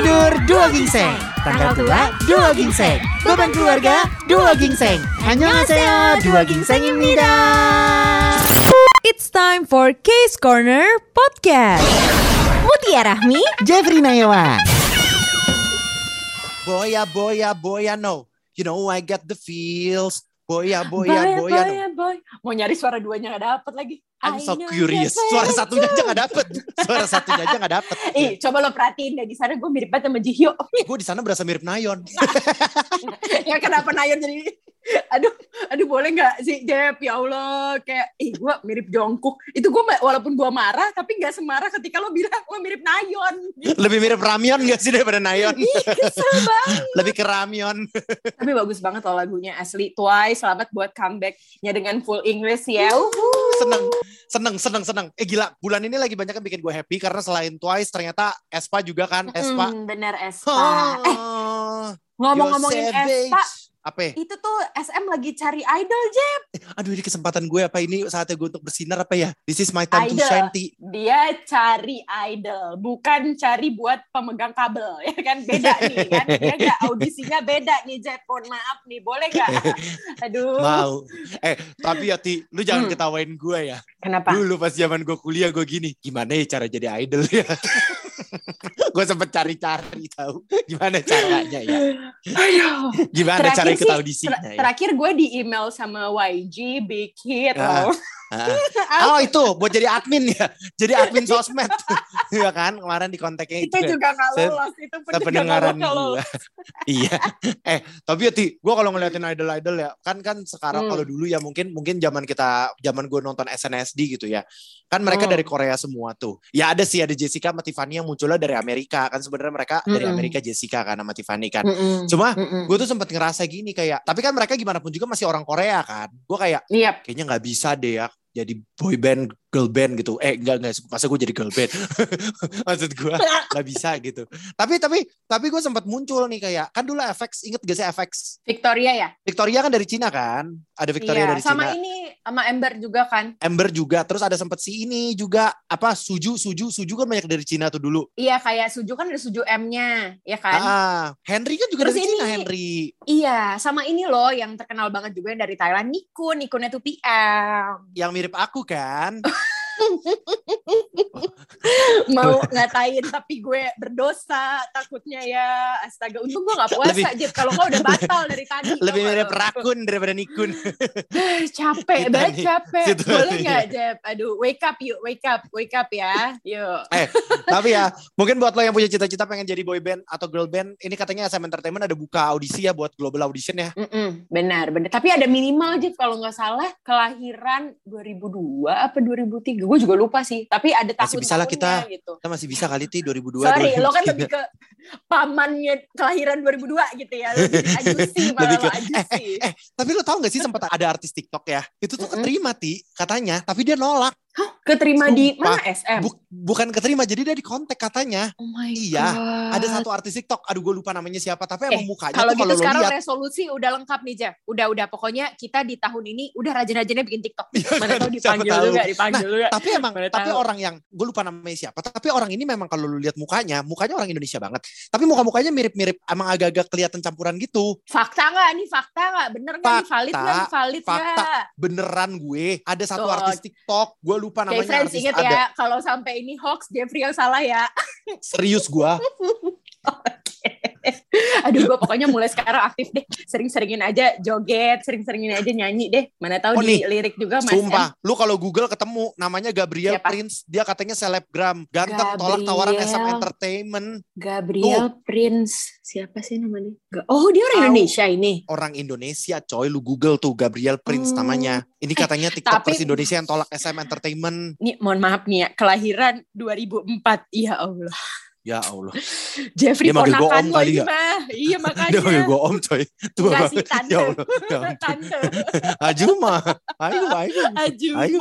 Duo Gingseng. Tanggal tua, Duo Gingseng. Beban keluarga, Duo Gingseng. Annyeonghaseyo, Duo Gingseng입니다. It's time for Case Corner Podcast. Mutia Rahmi, Jeffrey Nayawan. Boya, boya, boya, no. You know I got the feels. Boya, boya, boya, no. boy. Mau nyari suara duanya gak dapet lagi. I'm so I know curious. that Suara way. satunya aja gak dapet. Suara satunya aja gak dapet. Eh, coba lo perhatiin deh di sana gue mirip banget sama Jihyo. Gue di sana berasa mirip Nayon. ya kenapa Nayon jadi aduh aduh boleh nggak sih Jep ya Allah kayak eh gue mirip Jongkuk itu gue walaupun gue marah tapi nggak semarah ketika lo bilang lo mirip Nayon gitu. Lebih mirip Ramyon gak sih daripada Nayon? Ih, kesel banget. Lebih ke Ramyon. Tapi bagus banget loh lagunya asli. Twice, selamat buat comebacknya dengan full English ya. Uhuh. Seneng, seneng, seneng, seneng. Eh gila, bulan ini lagi banyak yang bikin gue happy karena selain Twice ternyata Espa juga kan, Espa. Hmm, bener Espa. Eh, Oh, ngomong-ngomongin you're savage. Espa, Apa? ya? itu tuh SM lagi cari idol, Jep. Aduh ini kesempatan gue apa ini saatnya gue untuk bersinar apa ya? This is my time to Idol. shine. Ti. Dia cari idol, bukan cari buat pemegang kabel, ya kan? Beda nih, kan? Beda, audisinya beda nih, Jep. Mohon maaf nih, boleh nggak? Aduh. Mau. Eh, tapi ya Ti, lu jangan Hmm. ketawain gue ya. Kenapa? Dulu pas zaman gue kuliah gue gini, gimana ya cara jadi idol ya? gue sempet cari-cari tahu gimana caranya ya. Aduh. Gimana Terakhir cara ikut sih, audisinya ter- ya. terakhir gue di email sama YG, Big Hit, Ah, loh. Ah. Oh itu buat jadi admin ya. Jadi admin sosmed. Iya kan kemarin di kontaknya itu. itu ya. juga nggak Saya- lolos itu pun Kita juga pendengaran nggak gue. lolos. iya. Eh, tapi ya Ti, gue kalau ngeliatin idol-idol ya, kan kan sekarang Hmm. kalau dulu ya mungkin mungkin zaman kita zaman gue nonton SNSD gitu ya. Kan mereka Hmm. dari Korea semua tuh. Ya ada sih ada Jessica sama Tiffany yang munculnya dari Amerika. Kan sebenarnya mereka dari Mm-mm. Amerika Jessica kan sama Tiffany kan. Mm-mm. Cuma Mm-mm. gue tuh sempat ngerasa gini kayak, tapi kan mereka gimana pun juga masih orang Korea kan. Gue kayak Iya, kayaknya nggak bisa deh ya jadi boy band girl band gitu eh enggak enggak masa gue jadi girl band maksud gue nggak bisa gitu tapi tapi tapi gue sempat muncul nih kayak kan dulu FX inget gak sih FX Victoria ya. Victoria kan dari Cina kan ada Victoria Iya, dari sama Cina ini sama Ember juga kan. Amber juga terus ada sempat si ini juga apa Suju Suju Suju kan banyak dari Cina tuh dulu Iya, kayak Suju kan ada Suju M-nya, ya kan? ah Henry kan juga dari Terus Cina ini- Henry Iya, sama ini loh yang terkenal banget juga yang dari Thailand, Nikun, Nikunnya tuh PM. yang mirip aku kan Mau ngatain tapi gue berdosa, takutnya ya. Astaga, untung gue gak puasa, Lebih- Jep. Kalau gak udah batal dari tadi. tau lebih gak mirip lo? rakun daripada Nikun Eh, capek, Kita banget nih, capek. situ- Boleh gak, Jep? Aduh, wake up yuk, wake up, wake up ya. Yuk. Tapi ya, mungkin buat lo yang punya cita-cita pengen jadi boy band atau girl band, ini katanya SM Entertainment ada buka audisi ya buat global audition ya. Mm-mm, benar, benar. Tapi ada minimal aja kalau nggak salah kelahiran 2002 apa 2003. Gue juga lupa sih. Tapi ada Masih tahun bisa lah kita. gitu. Kita masih bisa kali ti 2002. Sorry, lo kan 2003. lebih ke pamannya kelahiran 2002 gitu ya. Lebih ajusi malah Lebih lo ke- eh, ajusi. Tapi lo tau gak sih sempat ada artis TikTok ya? Itu tuh Mm-mm. keterima ti katanya, tapi dia nolak. Keterima di mana SM? Bu- bukan keterima, jadi dia di kontak katanya. oh my Iya, God. Ada satu artis TikTok, aduh gue lupa namanya siapa, tapi emang mukanya Ah. Kalau tuh gitu kalau lo sekarang lihat. resolusi udah lengkap nih Jeff. Udah udah pokoknya kita di tahun ini udah rajin-rajinnya bikin TikTok. Mana kan, tahu siapa tahu. dipanggil Nah. juga, dipanggil juga. Tapi emang, Mana tapi tahu. orang yang gue lupa namanya siapa, tapi orang ini memang kalau lo lihat mukanya, mukanya orang Indonesia banget. Tapi muka-mukanya mirip-mirip, emang agak-agak kelihatan campuran gitu. Fakta nggak nih fakta nggak bener nggak nih valid nggak nih valid fakta. nggak? beneran gue ada satu Tuh. artis TikTok gue lupa Oke namanya friends artis inget ada ya kalau sampai ini hoax Jeffrey yang salah ya. serius gue Aduh gue pokoknya mulai sekarang aktif deh. Sering-seringin aja joget, sering-seringin aja nyanyi deh. Mana tahu Oh, nih. di lirik juga Mas M. sumpah lu kalau Google ketemu namanya Gabriel Siapa? Prince dia katanya selebgram ganteng tolak Gabriel. tawaran SM Entertainment Gabriel Prince. Siapa sih namanya? Ga- Oh dia orang Indonesia ini. orang Indonesia coy lu Google tuh Gabriel Prince Hmm. Eh, namanya ini katanya TikTokers tapi- Indonesia yang tolak SM Entertainment Nih mohon maaf nih ya, kelahiran 2004. Iya Allah. ya Allah Dia Jeffrey manggil gua ponakan om lo kali ini ya? mah. Iya dia panggil gue makanya. ya om coy tuh Enggak sih ya tante. Allah ya ampun. Tante. Ajuma ayo ayo Aduh. ayo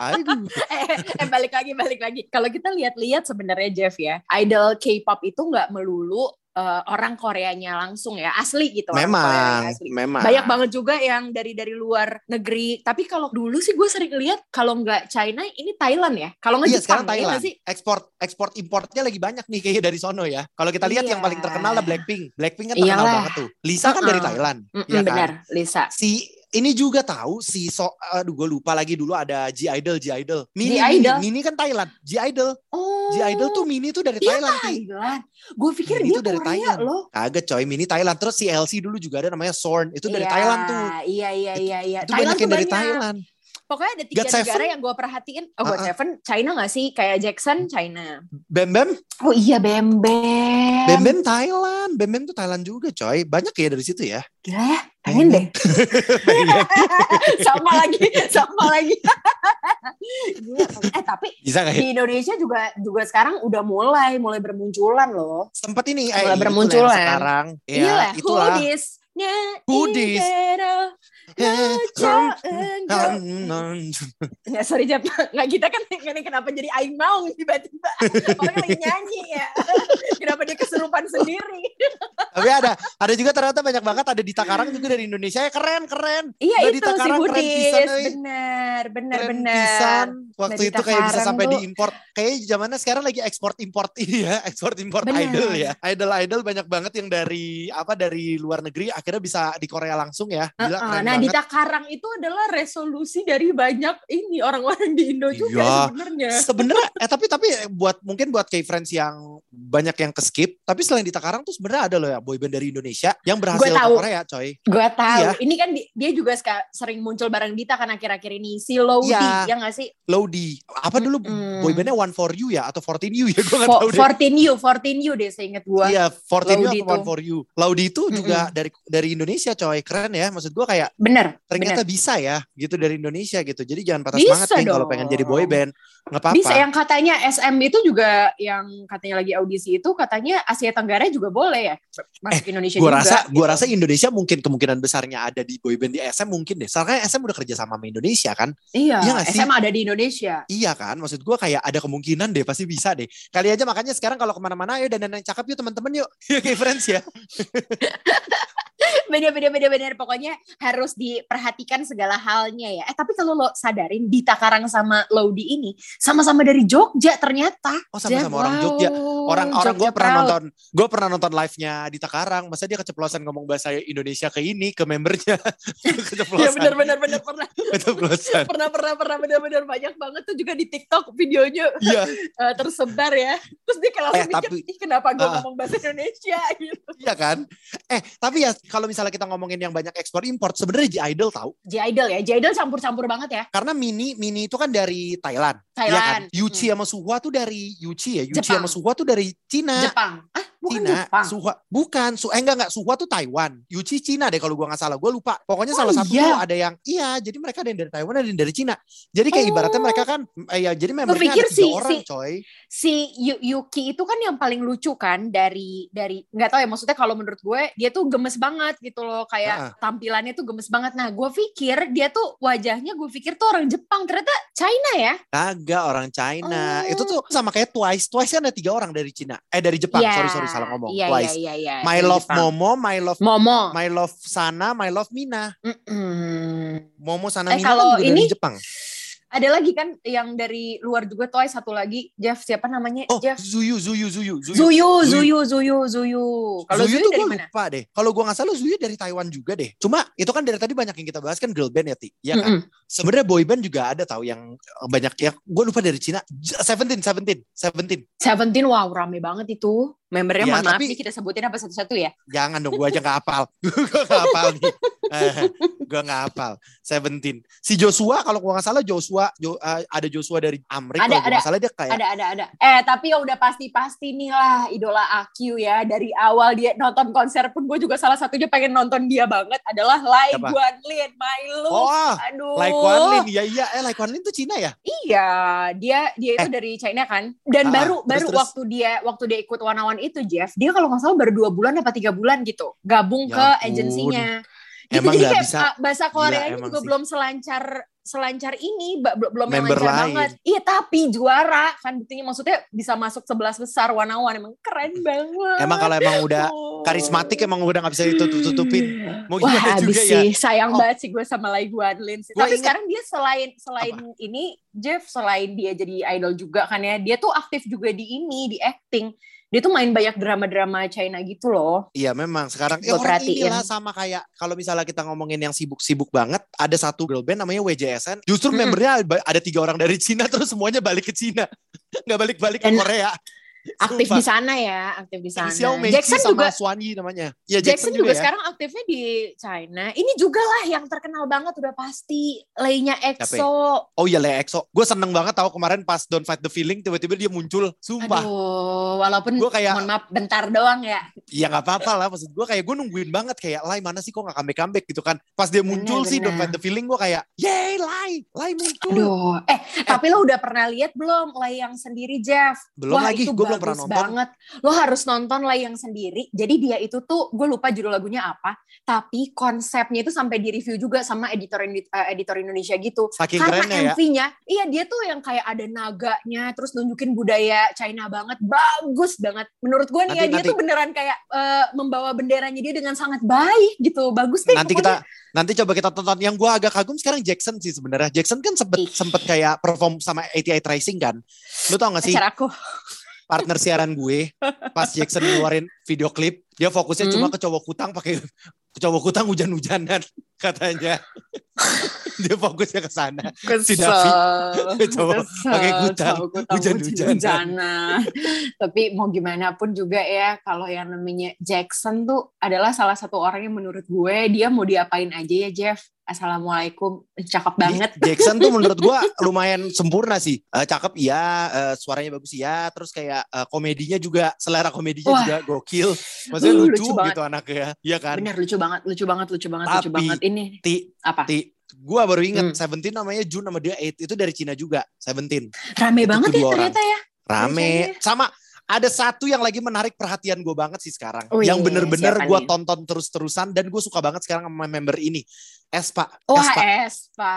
ayo eh, eh, balik lagi balik lagi kalau kita lihat-lihat sebenarnya Jeff ya idol K-pop itu nggak melulu eh, orang Koreanya langsung ya asli gitu orang memang, Koreanya asli. memang. banyak banget juga yang dari dari luar negeri tapi kalau dulu sih gue sering lihat kalau nggak China ini Thailand ya kalau nggak Iya Jepang sekarang ya Thailand nggak sih ekspor ekspor importnya lagi banyak nih kayaknya dari sono ya. Kalau kita lihat Iya. yang paling terkenal lah Blackpink. Blackpink kan terkenal Iyalah. banget tuh. Lisa kan dari Mm-mm. Thailand. Mm-mm, Iya kan? benar Lisa Si ini juga tahu si so aduh gue lupa lagi dulu ada G Idol G Idol. Mini, G Mini, Idol. Mini kan Thailand. G Idol oh G Idol tuh Mini tuh dari dia Thailand. Ki. Oh, Thailand gue pikir Ini dia tuh dari dari Korea Thailand. loh Kagak coy Mini Thailand. Terus si LC dulu juga ada namanya Sorn itu dari Iya, Thailand tuh. iya iya iya iya Itu banyak yang tuh dari Thailand. pokoknya ada tiga God negara Seven. yang gue perhatiin oh God Uh-uh. Seven China nggak sih kayak Jackson China Bem Bem oh iya Bem Bem Bem Bem Thailand. Bem Bem tuh Thailand juga coy. Banyak ya dari situ ya. Gila ya, pengen deh. sama lagi, sama lagi. Gila, eh tapi Bisa gak ya? di Indonesia juga juga sekarang udah mulai mulai bermunculan loh. Sempat ini Mulai Iya, itulah yang bermunculan. sekarang. Ya, Iyalah, itulah. Hoodies. Nya, Hoodies. igero, Eh, ucau, em, enggo. em, Ya sorry Jep, nggak kita kan ini kenapa jadi Aing Maung tiba-tiba. Orang lagi nyanyi ya. kenapa dia kesurupan sendiri. Tapi ada ada juga ternyata banyak banget ada di Takarang juga dari Indonesia ya keren keren. Iya Nah, di itu si Takarang keren Hoodies. pisan, euy. Bener, bener, Keren bener. pisan. Waktu Dari itu kayak bisa Takarang sampai tuh. diimpor. Kayak zamannya sekarang lagi ekspor import ini ya, ekspor import Bener. idol ya. Idol idol banyak banget yang dari apa dari luar negeri akhirnya bisa di Korea langsung ya. Gila, Uh-uh. keren nah di banget. Takarang itu adalah resolusi dari banyak ini orang-orang di Indo juga Iya. sebenarnya. Sebenarnya eh tapi tapi buat mungkin buat kayak friends yang banyak yang keskip, tapi selain di Takarang tuh sebenarnya ada loh ya boyband dari Indonesia yang berhasil ke tahu. Korea, coy. Gue tahu. Iya. Ini kan di- dia juga ska- sering muncul bareng Dita kan akhir-akhir ini si Lowdi Iya. ya nggak sih? Lodi apa dulu Mm-mm. boybandnya One for You ya atau Fourteen You ya gue nggak Fo- tahu deh. 14 You, 14 You deh seingat gue. Iya, Fourteen You Laudi atau One tuh. for You. Laudi itu juga dari dari Indonesia coy, keren ya. Maksud gue kayak Bener. ternyata bisa ya gitu dari Indonesia gitu. Jadi jangan patah Bisa semangat nih kalau dong. pengen jadi boyband. Nggak apa-apa. Bisa ya, yang katanya SM itu juga yang katanya lagi audisi itu katanya Asia Tenggara juga boleh ya masuk Indonesia Gue juga. rasa, gitu. Eh, gua rasa Indonesia mungkin kemungkinan besarnya ada di boyband di SM mungkin deh. Soalnya SM udah kerja sama sama Indonesia kan? Iya, Iya nggak sih? SM ada di Indonesia. Iya kan? Maksud gue kayak ada kemungkinan deh, pasti bisa deh. Kali aja makanya sekarang kalau kemana-mana ayo dan yang cakep yuk teman-teman yuk. Yuk kayak friends ya. bener bener bener bener pokoknya harus diperhatikan segala halnya ya eh tapi kalau lo sadarin Dita Karang sama Laudi ini sama-sama dari Jogja ternyata Oh sama-sama orang Wow, Jogja. Orang-orang gue Jogja pernah proud. nonton, gue pernah nonton live-nya di Takarang. Masa dia keceplosan ngomong bahasa Indonesia ke ini, ke membernya. Iya keceplosan, bener bener bener pernah keceplosan. pernah pernah pernah bener bener banyak banget tuh juga di TikTok videonya Iya, eh, tersebar ya terus dia kayak langsung Eh, mikir tapi- "Ih, kenapa gue Ah. ngomong bahasa Indonesia gitu iya kan? Eh, tapi ya kalau misalnya kita ngomongin yang banyak ekspor import, sebenarnya G Idol tahu. J-Idol ya J-Idol campur-campur banget ya Karena Mini Mini itu kan dari Thailand. Iya kan? Thailand Hmm. Yuchi sama Suhwa tuh dari Yuchi ya. Yuchi Jepang. sama Suhwa tuh dari Cina. Jepang ah bukan Cina, Jepang Suhwa, bukan, Su, eh enggak enggak, Suhwa tuh Taiwan, Yuchi Cina deh kalau gua nggak salah, gua lupa. Pokoknya Oh, salah satu iya. tuh ada yang, iya, jadi mereka ada yang dari Taiwan, ada yang dari Cina. Jadi kayak Oh. ibaratnya mereka kan, eh, ya jadi membernya pikir ada tiga si- orang, si- coy. si Yu- Yuki itu kan yang paling lucu kan dari dari nggak tahu ya maksudnya kalau menurut gue dia tuh gemes banget gitu loh kayak Ah. tampilannya tuh gemes banget nah gue pikir dia tuh wajahnya gue pikir tuh orang Jepang ternyata China ya Kagak orang China, Oh. itu tuh sama kayak Twice, Twice kan ada tiga orang dari Cina, eh dari Jepang, Iya, sorry sorry salah ngomong, iya, Twice. iya, iya, iya, My dari love Jepang. Momo, my love, Momo my love Sana, my love Mina, Mm-mm. Momo Sana Eh, Mina kalau kan juga dari ini- Jepang. ada lagi kan yang dari luar juga Twice satu lagi Jeff siapa namanya Oh, Jeff Zuyu, Zuyu, Zuyu, Zuyu. Zuyu Zuyu. Zuyu Zuyu Zuyu kalau Zuyu, tuh dari gue mana lupa deh. Kalau gue nggak salah Zuyu dari Taiwan juga deh. Cuma itu kan dari tadi banyak yang kita bahas kan girl band ya Ti. Iya kan? Mm-mm. Sebenarnya boy band juga ada tahu yang banyak ya. Gue lupa dari Cina. J- Seventeen, Seventeen, Seventeen. Seventeen wow rame banget itu membernya Iya, mohon maaf tapi- nih kita sebutin apa satu-satu ya Jangan dong gue aja nggak hafal. gue nggak hafal nih. gue nggak hafal. Seventeen. Si Joshua kalau gue nggak salah Joshua Jo- eh, ada Joshua dari Amerika. Ada, Kalau gue ada. nggak salah dia kayak. Ada ada ada. Eh tapi ya udah pasti pasti nih lah idola AQ ya dari awal dia nonton konser pun gue juga salah satunya pengen nonton dia banget adalah Lai Siapa? Guanlin, My Love. Oh, Aduh. Lai Kuan Lin. Iya iya. Eh Lai Kuan Lin tuh Cina ya? Iya, dia dia itu dari China kan. Dan Eh. Ah, baru terus, baru terus. waktu dia waktu dia ikut One on One itu Jeff, dia kalau nggak salah baru dua bulan apa tiga bulan gitu gabung Ya ke ampun. agensinya. Gitu, Emang jadi nggak kayak bisa. Iya, ah, bahasa Koreanya emang juga sih. belum selancar selancar ini ba- bel- belum yang Member lain. lancar banget. Iya tapi juara kan buktinya maksudnya bisa masuk 11 besar wanawan emang keren banget. Iya. Emang kalau emang udah Oh. karismatik ya, emang udah nggak bisa ditutup-tutupin. Mau Wah gimana habis juga ya. sih sayang Oh. banget sih gue sama Lai Guanlin sih. Gua Tapi ingat- sekarang dia selain selain ini Jeff selain dia jadi idol juga kan ya dia tuh aktif juga di ini di acting. Dia tuh main banyak drama-drama China gitu loh. Iya memang sekarang ya Gua orang perhatiin. inilah sama kayak kalau misalnya kita ngomongin yang sibuk-sibuk banget ada satu girl band namanya WJSN justru Mm-mm. membernya ada- ada tiga orang dari Cina terus semuanya balik ke Cina nggak balik-balik ke Dan Korea Aktif Sumpah. di sana ya, aktif di sana. Jadi Xiao Mei Jackson sama juga Swanyi namanya ya Jackson, juga ya. sekarang aktifnya di China. Ini juga lah yang terkenal banget udah pasti. Lay-nya EXO. oh iya Lea EXO gue seneng banget tau kemarin pas Don't Fight the Feeling tiba-tiba dia muncul sumpah Aduh, walaupun Gua kayak- mohon maaf bentar doang ya. ya nggak apa-apa lah maksud gue kayak gue nungguin banget kayak Lai mana sih kok nggak comeback comeback gitu kan pas dia muncul sih bener. Don't Fight the Feeling gue kayak yay Lai Lai muncul Aduh, eh tapi lo udah pernah lihat belum Lay yang sendiri Jeff? belum Wah, lagi itu gue belum bagus pernah nonton banget. Lo harus nonton Lay yang sendiri. Jadi dia itu tuh gue lupa judul lagunya apa, tapi konsepnya itu sampai di review juga sama editor Indi- eh, editor Indonesia gitu. saking kerennya Karena ya MV-nya, iya dia tuh yang kayak ada naganya, terus nunjukin budaya China banget, bagus banget. Menurut gue nih ya, Nanti- dia nanti. tuh beneran kayak eh, membawa benderanya dia dengan sangat baik gitu, bagus deh. nanti kita nanti coba kita tonton yang gua agak kagum sekarang Jackson sih sebenarnya Jackson kan sempet Ih. sempet kayak perform sama ATI Tracing kan lu tau gak sih acara aku. partner siaran gue pas Jackson ngeluarin video klip dia fokusnya Hmm. cuma ke cowok kutang pakai ke cowok kutang hujan-hujanan katanya dia fokusnya ke sana si Davi. Coba Kesel, pakai kutang, tahu kutang, hujan-hujanan. hujan-hujanan. Tapi mau gimana pun juga ya, kalau yang namanya Jackson tuh adalah salah satu orang yang menurut gue dia mau diapain aja ya Jeff. Assalamualaikum, cakep Iya. banget. Di- Jackson tuh menurut gua lumayan sempurna sih. Eh, cakep iya, eh, suaranya bagus iya, terus kayak eh, komedinya juga selera komedinya Wah. juga gokil. Maksudnya Uh, lucu, lucu banget. gitu anaknya. Iya kan? Bener lucu banget, lucu banget, lucu banget, lucu Tapi- banget. Ini Ti- apa? Ti, gua baru inget Hmm. Seventeen namanya Jun nama dia Eight itu dari Cina juga Seventeen Rame banget ya kedua orang. ternyata ya. rame Biasanya. sama ada satu yang lagi menarik perhatian gue banget sih sekarang Wih, yang bener-bener Oh, iya, siapa gue nih? tonton terus-terusan dan gue suka banget sekarang sama member ini Espa Wah, Espa Espa.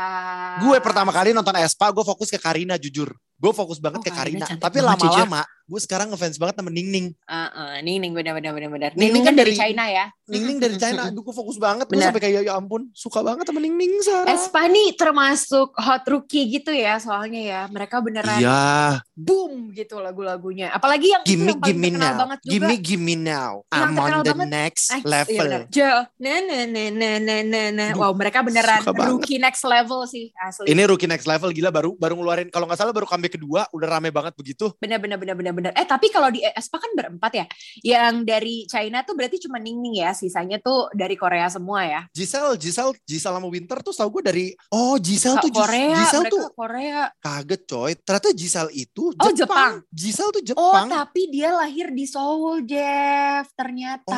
gue Ah. pertama kali nonton Espa gue fokus ke Karina jujur gue fokus banget Oh, ke Karina Karina cantik tapi banget, jujur. lama-lama gue sekarang ngefans banget sama Ningning Heeh, Ning Ning benar benar benar benar. Ning Ning Ning kan kan dari dari- China ya. Ningning dari China gue fokus banget gue Bener. sampai kayak ya ampun suka banget sama Ningning Sarah Espa nih termasuk hot rookie gitu ya soalnya ya. Mereka beneran iya boom gitu lagu-lagunya. Apalagi yang itu gimme yang paling gimme terkenal now banget juga. gimme gimme now I'm terkenal on the banget. next Eh, iya level benar. Jo, na na na na na na na. Aduh, Wow, mereka beneran suka banget. rookie next level sih asli. Ini rookie next level gila baru baru ngeluarin kalau nggak salah baru comeback kedua udah rame banget begitu. Bener bener bener bener bener. Eh tapi kalau di Espa kan berempat ya. Yang dari China tuh berarti cuma Ning Ning ya. Sisanya tuh dari Korea semua ya. Gisel Gisel Gisel sama Winter tuh tahu gue dari oh Gisel Ka- tuh Gis- Korea, Gisel mereka tuh Korea. kaget coy. Ternyata Gisel itu Oh, Jepang. Jepang. Gisel tuh Oh Jepang. tapi dia lahir di Seoul Jeff ternyata.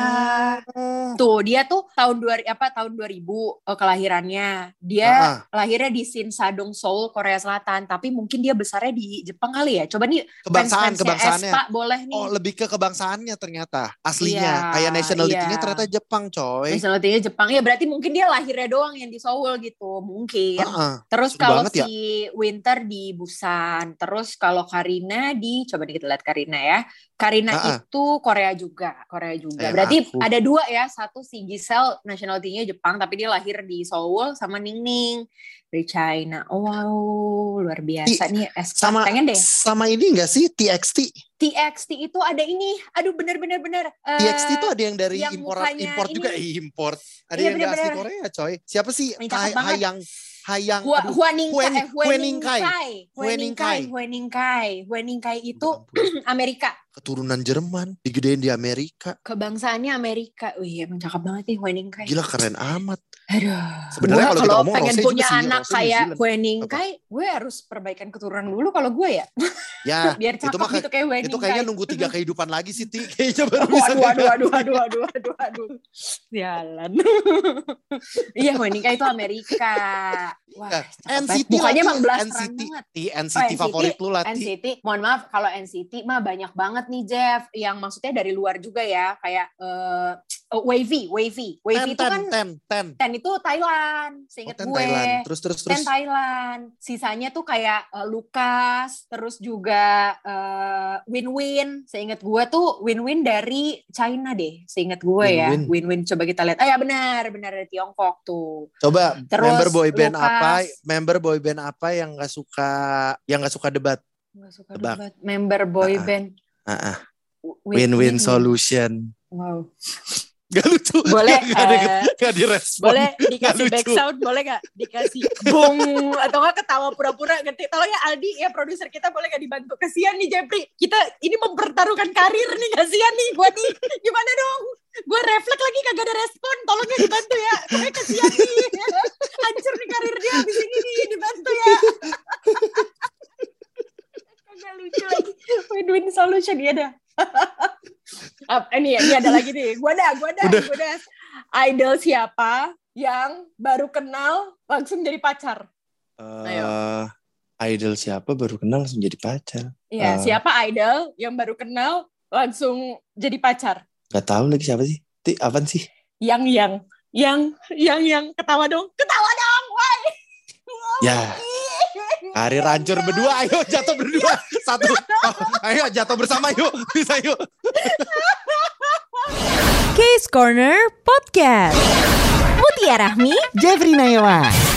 Oh. Tuh dia tuh tahun 2000 apa tahun 2000 eh, kelahirannya. Dia Ah, lahirnya di Sinsadong Seoul Korea Selatan tapi mungkin dia besarnya di Jepang kali ya. Coba nih kebangsaan fans-fansnya kebangsaannya. Espa boleh nih. Oh lebih ke kebangsaannya ternyata aslinya Iya, kayak nationality-nya iya. ternyata Jepang coy. Nationality-nya Jepang ya berarti mungkin dia lahirnya doang yang di Seoul gitu mungkin. Heeh. Terus Seru kalau banget si ya. Winter di Busan, terus kalau Karina di coba dikit lihat Karina ya. Karina Ah-ah. itu Korea juga, Korea juga. Kayak Berarti Eh, aku. ada dua ya, satu si Giselle nationality-nya Jepang tapi dia lahir di Seoul sama Ning Ning dari China. Oh, wow, luar biasa nih Espa. sama- pengen deh. Sama ini enggak sih TXT? TXT itu ada ini. Aduh bener-bener bener. Eh, TXT itu ada yang dari yang impor mukanya import ini. juga eh, import. Ada Iya, yang dari asli bener-bener. Korea coy. Siapa sih? Ini cakep Hai, banget. Hayang Hayang Hua, aduh, Hua Ning Huen- eh, Hua Huen Ning Kai. Kai. Hua Huen Ning Ning Kai. Kai. Hua Ning Kai. Hua Ning Kai itu Ya ampun, Amerika. keturunan Jerman, digedein di Amerika. Kebangsaannya Amerika. Wih, iya, emang cakep banget nih Hua Ning Kai. Gila keren amat. Aduh. Sebenarnya Gua kalau kita ngomong pengen Rose punya juga sih, anak Rose New kayak Zealand. Hua Ning Apa? Kai, gue harus perbaikan keturunan dulu kalau gue ya. Ya, Biar cakep mah kayak- gitu kayak Hua Ning itu kayaknya Kai. nunggu tiga kehidupan lagi sih, Ti. Kayaknya baru bisa. Waduh, waduh, waduh, waduh, waduh, waduh, waduh. Sialan. Iya, Hua Ning Kai itu Amerika. Wah, Eh, cakep banget. NCT Mukanya lagi, emang blasteran NCT. banget. Ti, NCT NCT, favorit lu lah, Ti. NCT, mohon maaf kalau NCT mah banyak banget banget nih Jeff yang maksudnya dari luar juga ya kayak eh, oh, wavy wavy Ten, wavy itu ten, kan ten, ten. ten itu Thailand Oh, seingat ten gue Thailand. Terus, terus, terus. Ten Thailand sisanya tuh kayak eh, Lukas terus juga eh, Win-Win seingat gue tuh Win-Win dari China deh seingat gue ya Win-Win. Win-Win coba kita lihat ah ya benar benar dari Tiongkok tuh Coba Terus, member boy band Lukas. apa? Member boy band apa yang nggak suka yang nggak suka debat? Nggak suka Tebak. debat. member boy Ah, ah. band Ah, ah. W- Win-win solution. wow. Gak lucu. Boleh, Gak, gak ada, eh, gak direspon. Boleh dikasih lucu. back sound, boleh gak? Dikasih bung atau nggak ketawa pura-pura ngerti tolong ya Aldi ya produser kita boleh gak dibantu kasihan nih Jeffrey kita ini mempertaruhkan karir nih kasihan nih gue nih gimana dong gue refleks lagi kagak ada respon tolong ya dibantu ya gue kasihan nih hancur nih karir dia di sini nih dibantu ya kagak lucu lagi win-win solution ya dah Ap- ini, ini ada lagi nih gue dah gue dah Udah. gue dah idol siapa yang baru kenal langsung jadi pacar Ayo. Eh, idol siapa baru kenal langsung jadi pacar? Iya, Ah. siapa idol yang baru kenal langsung jadi pacar? Gak tahu lagi siapa sih? Ti, apaan sih? Yang yang yang yang yang ketawa dong, ketawa dong, woi. Ya, karir hancur berdua. Ayo jatuh berdua. Satu. Ayo jatuh bersama yuk. Bisa yuk. Case Corner Podcast. Mutia Rahmi Jeffrey Nayawan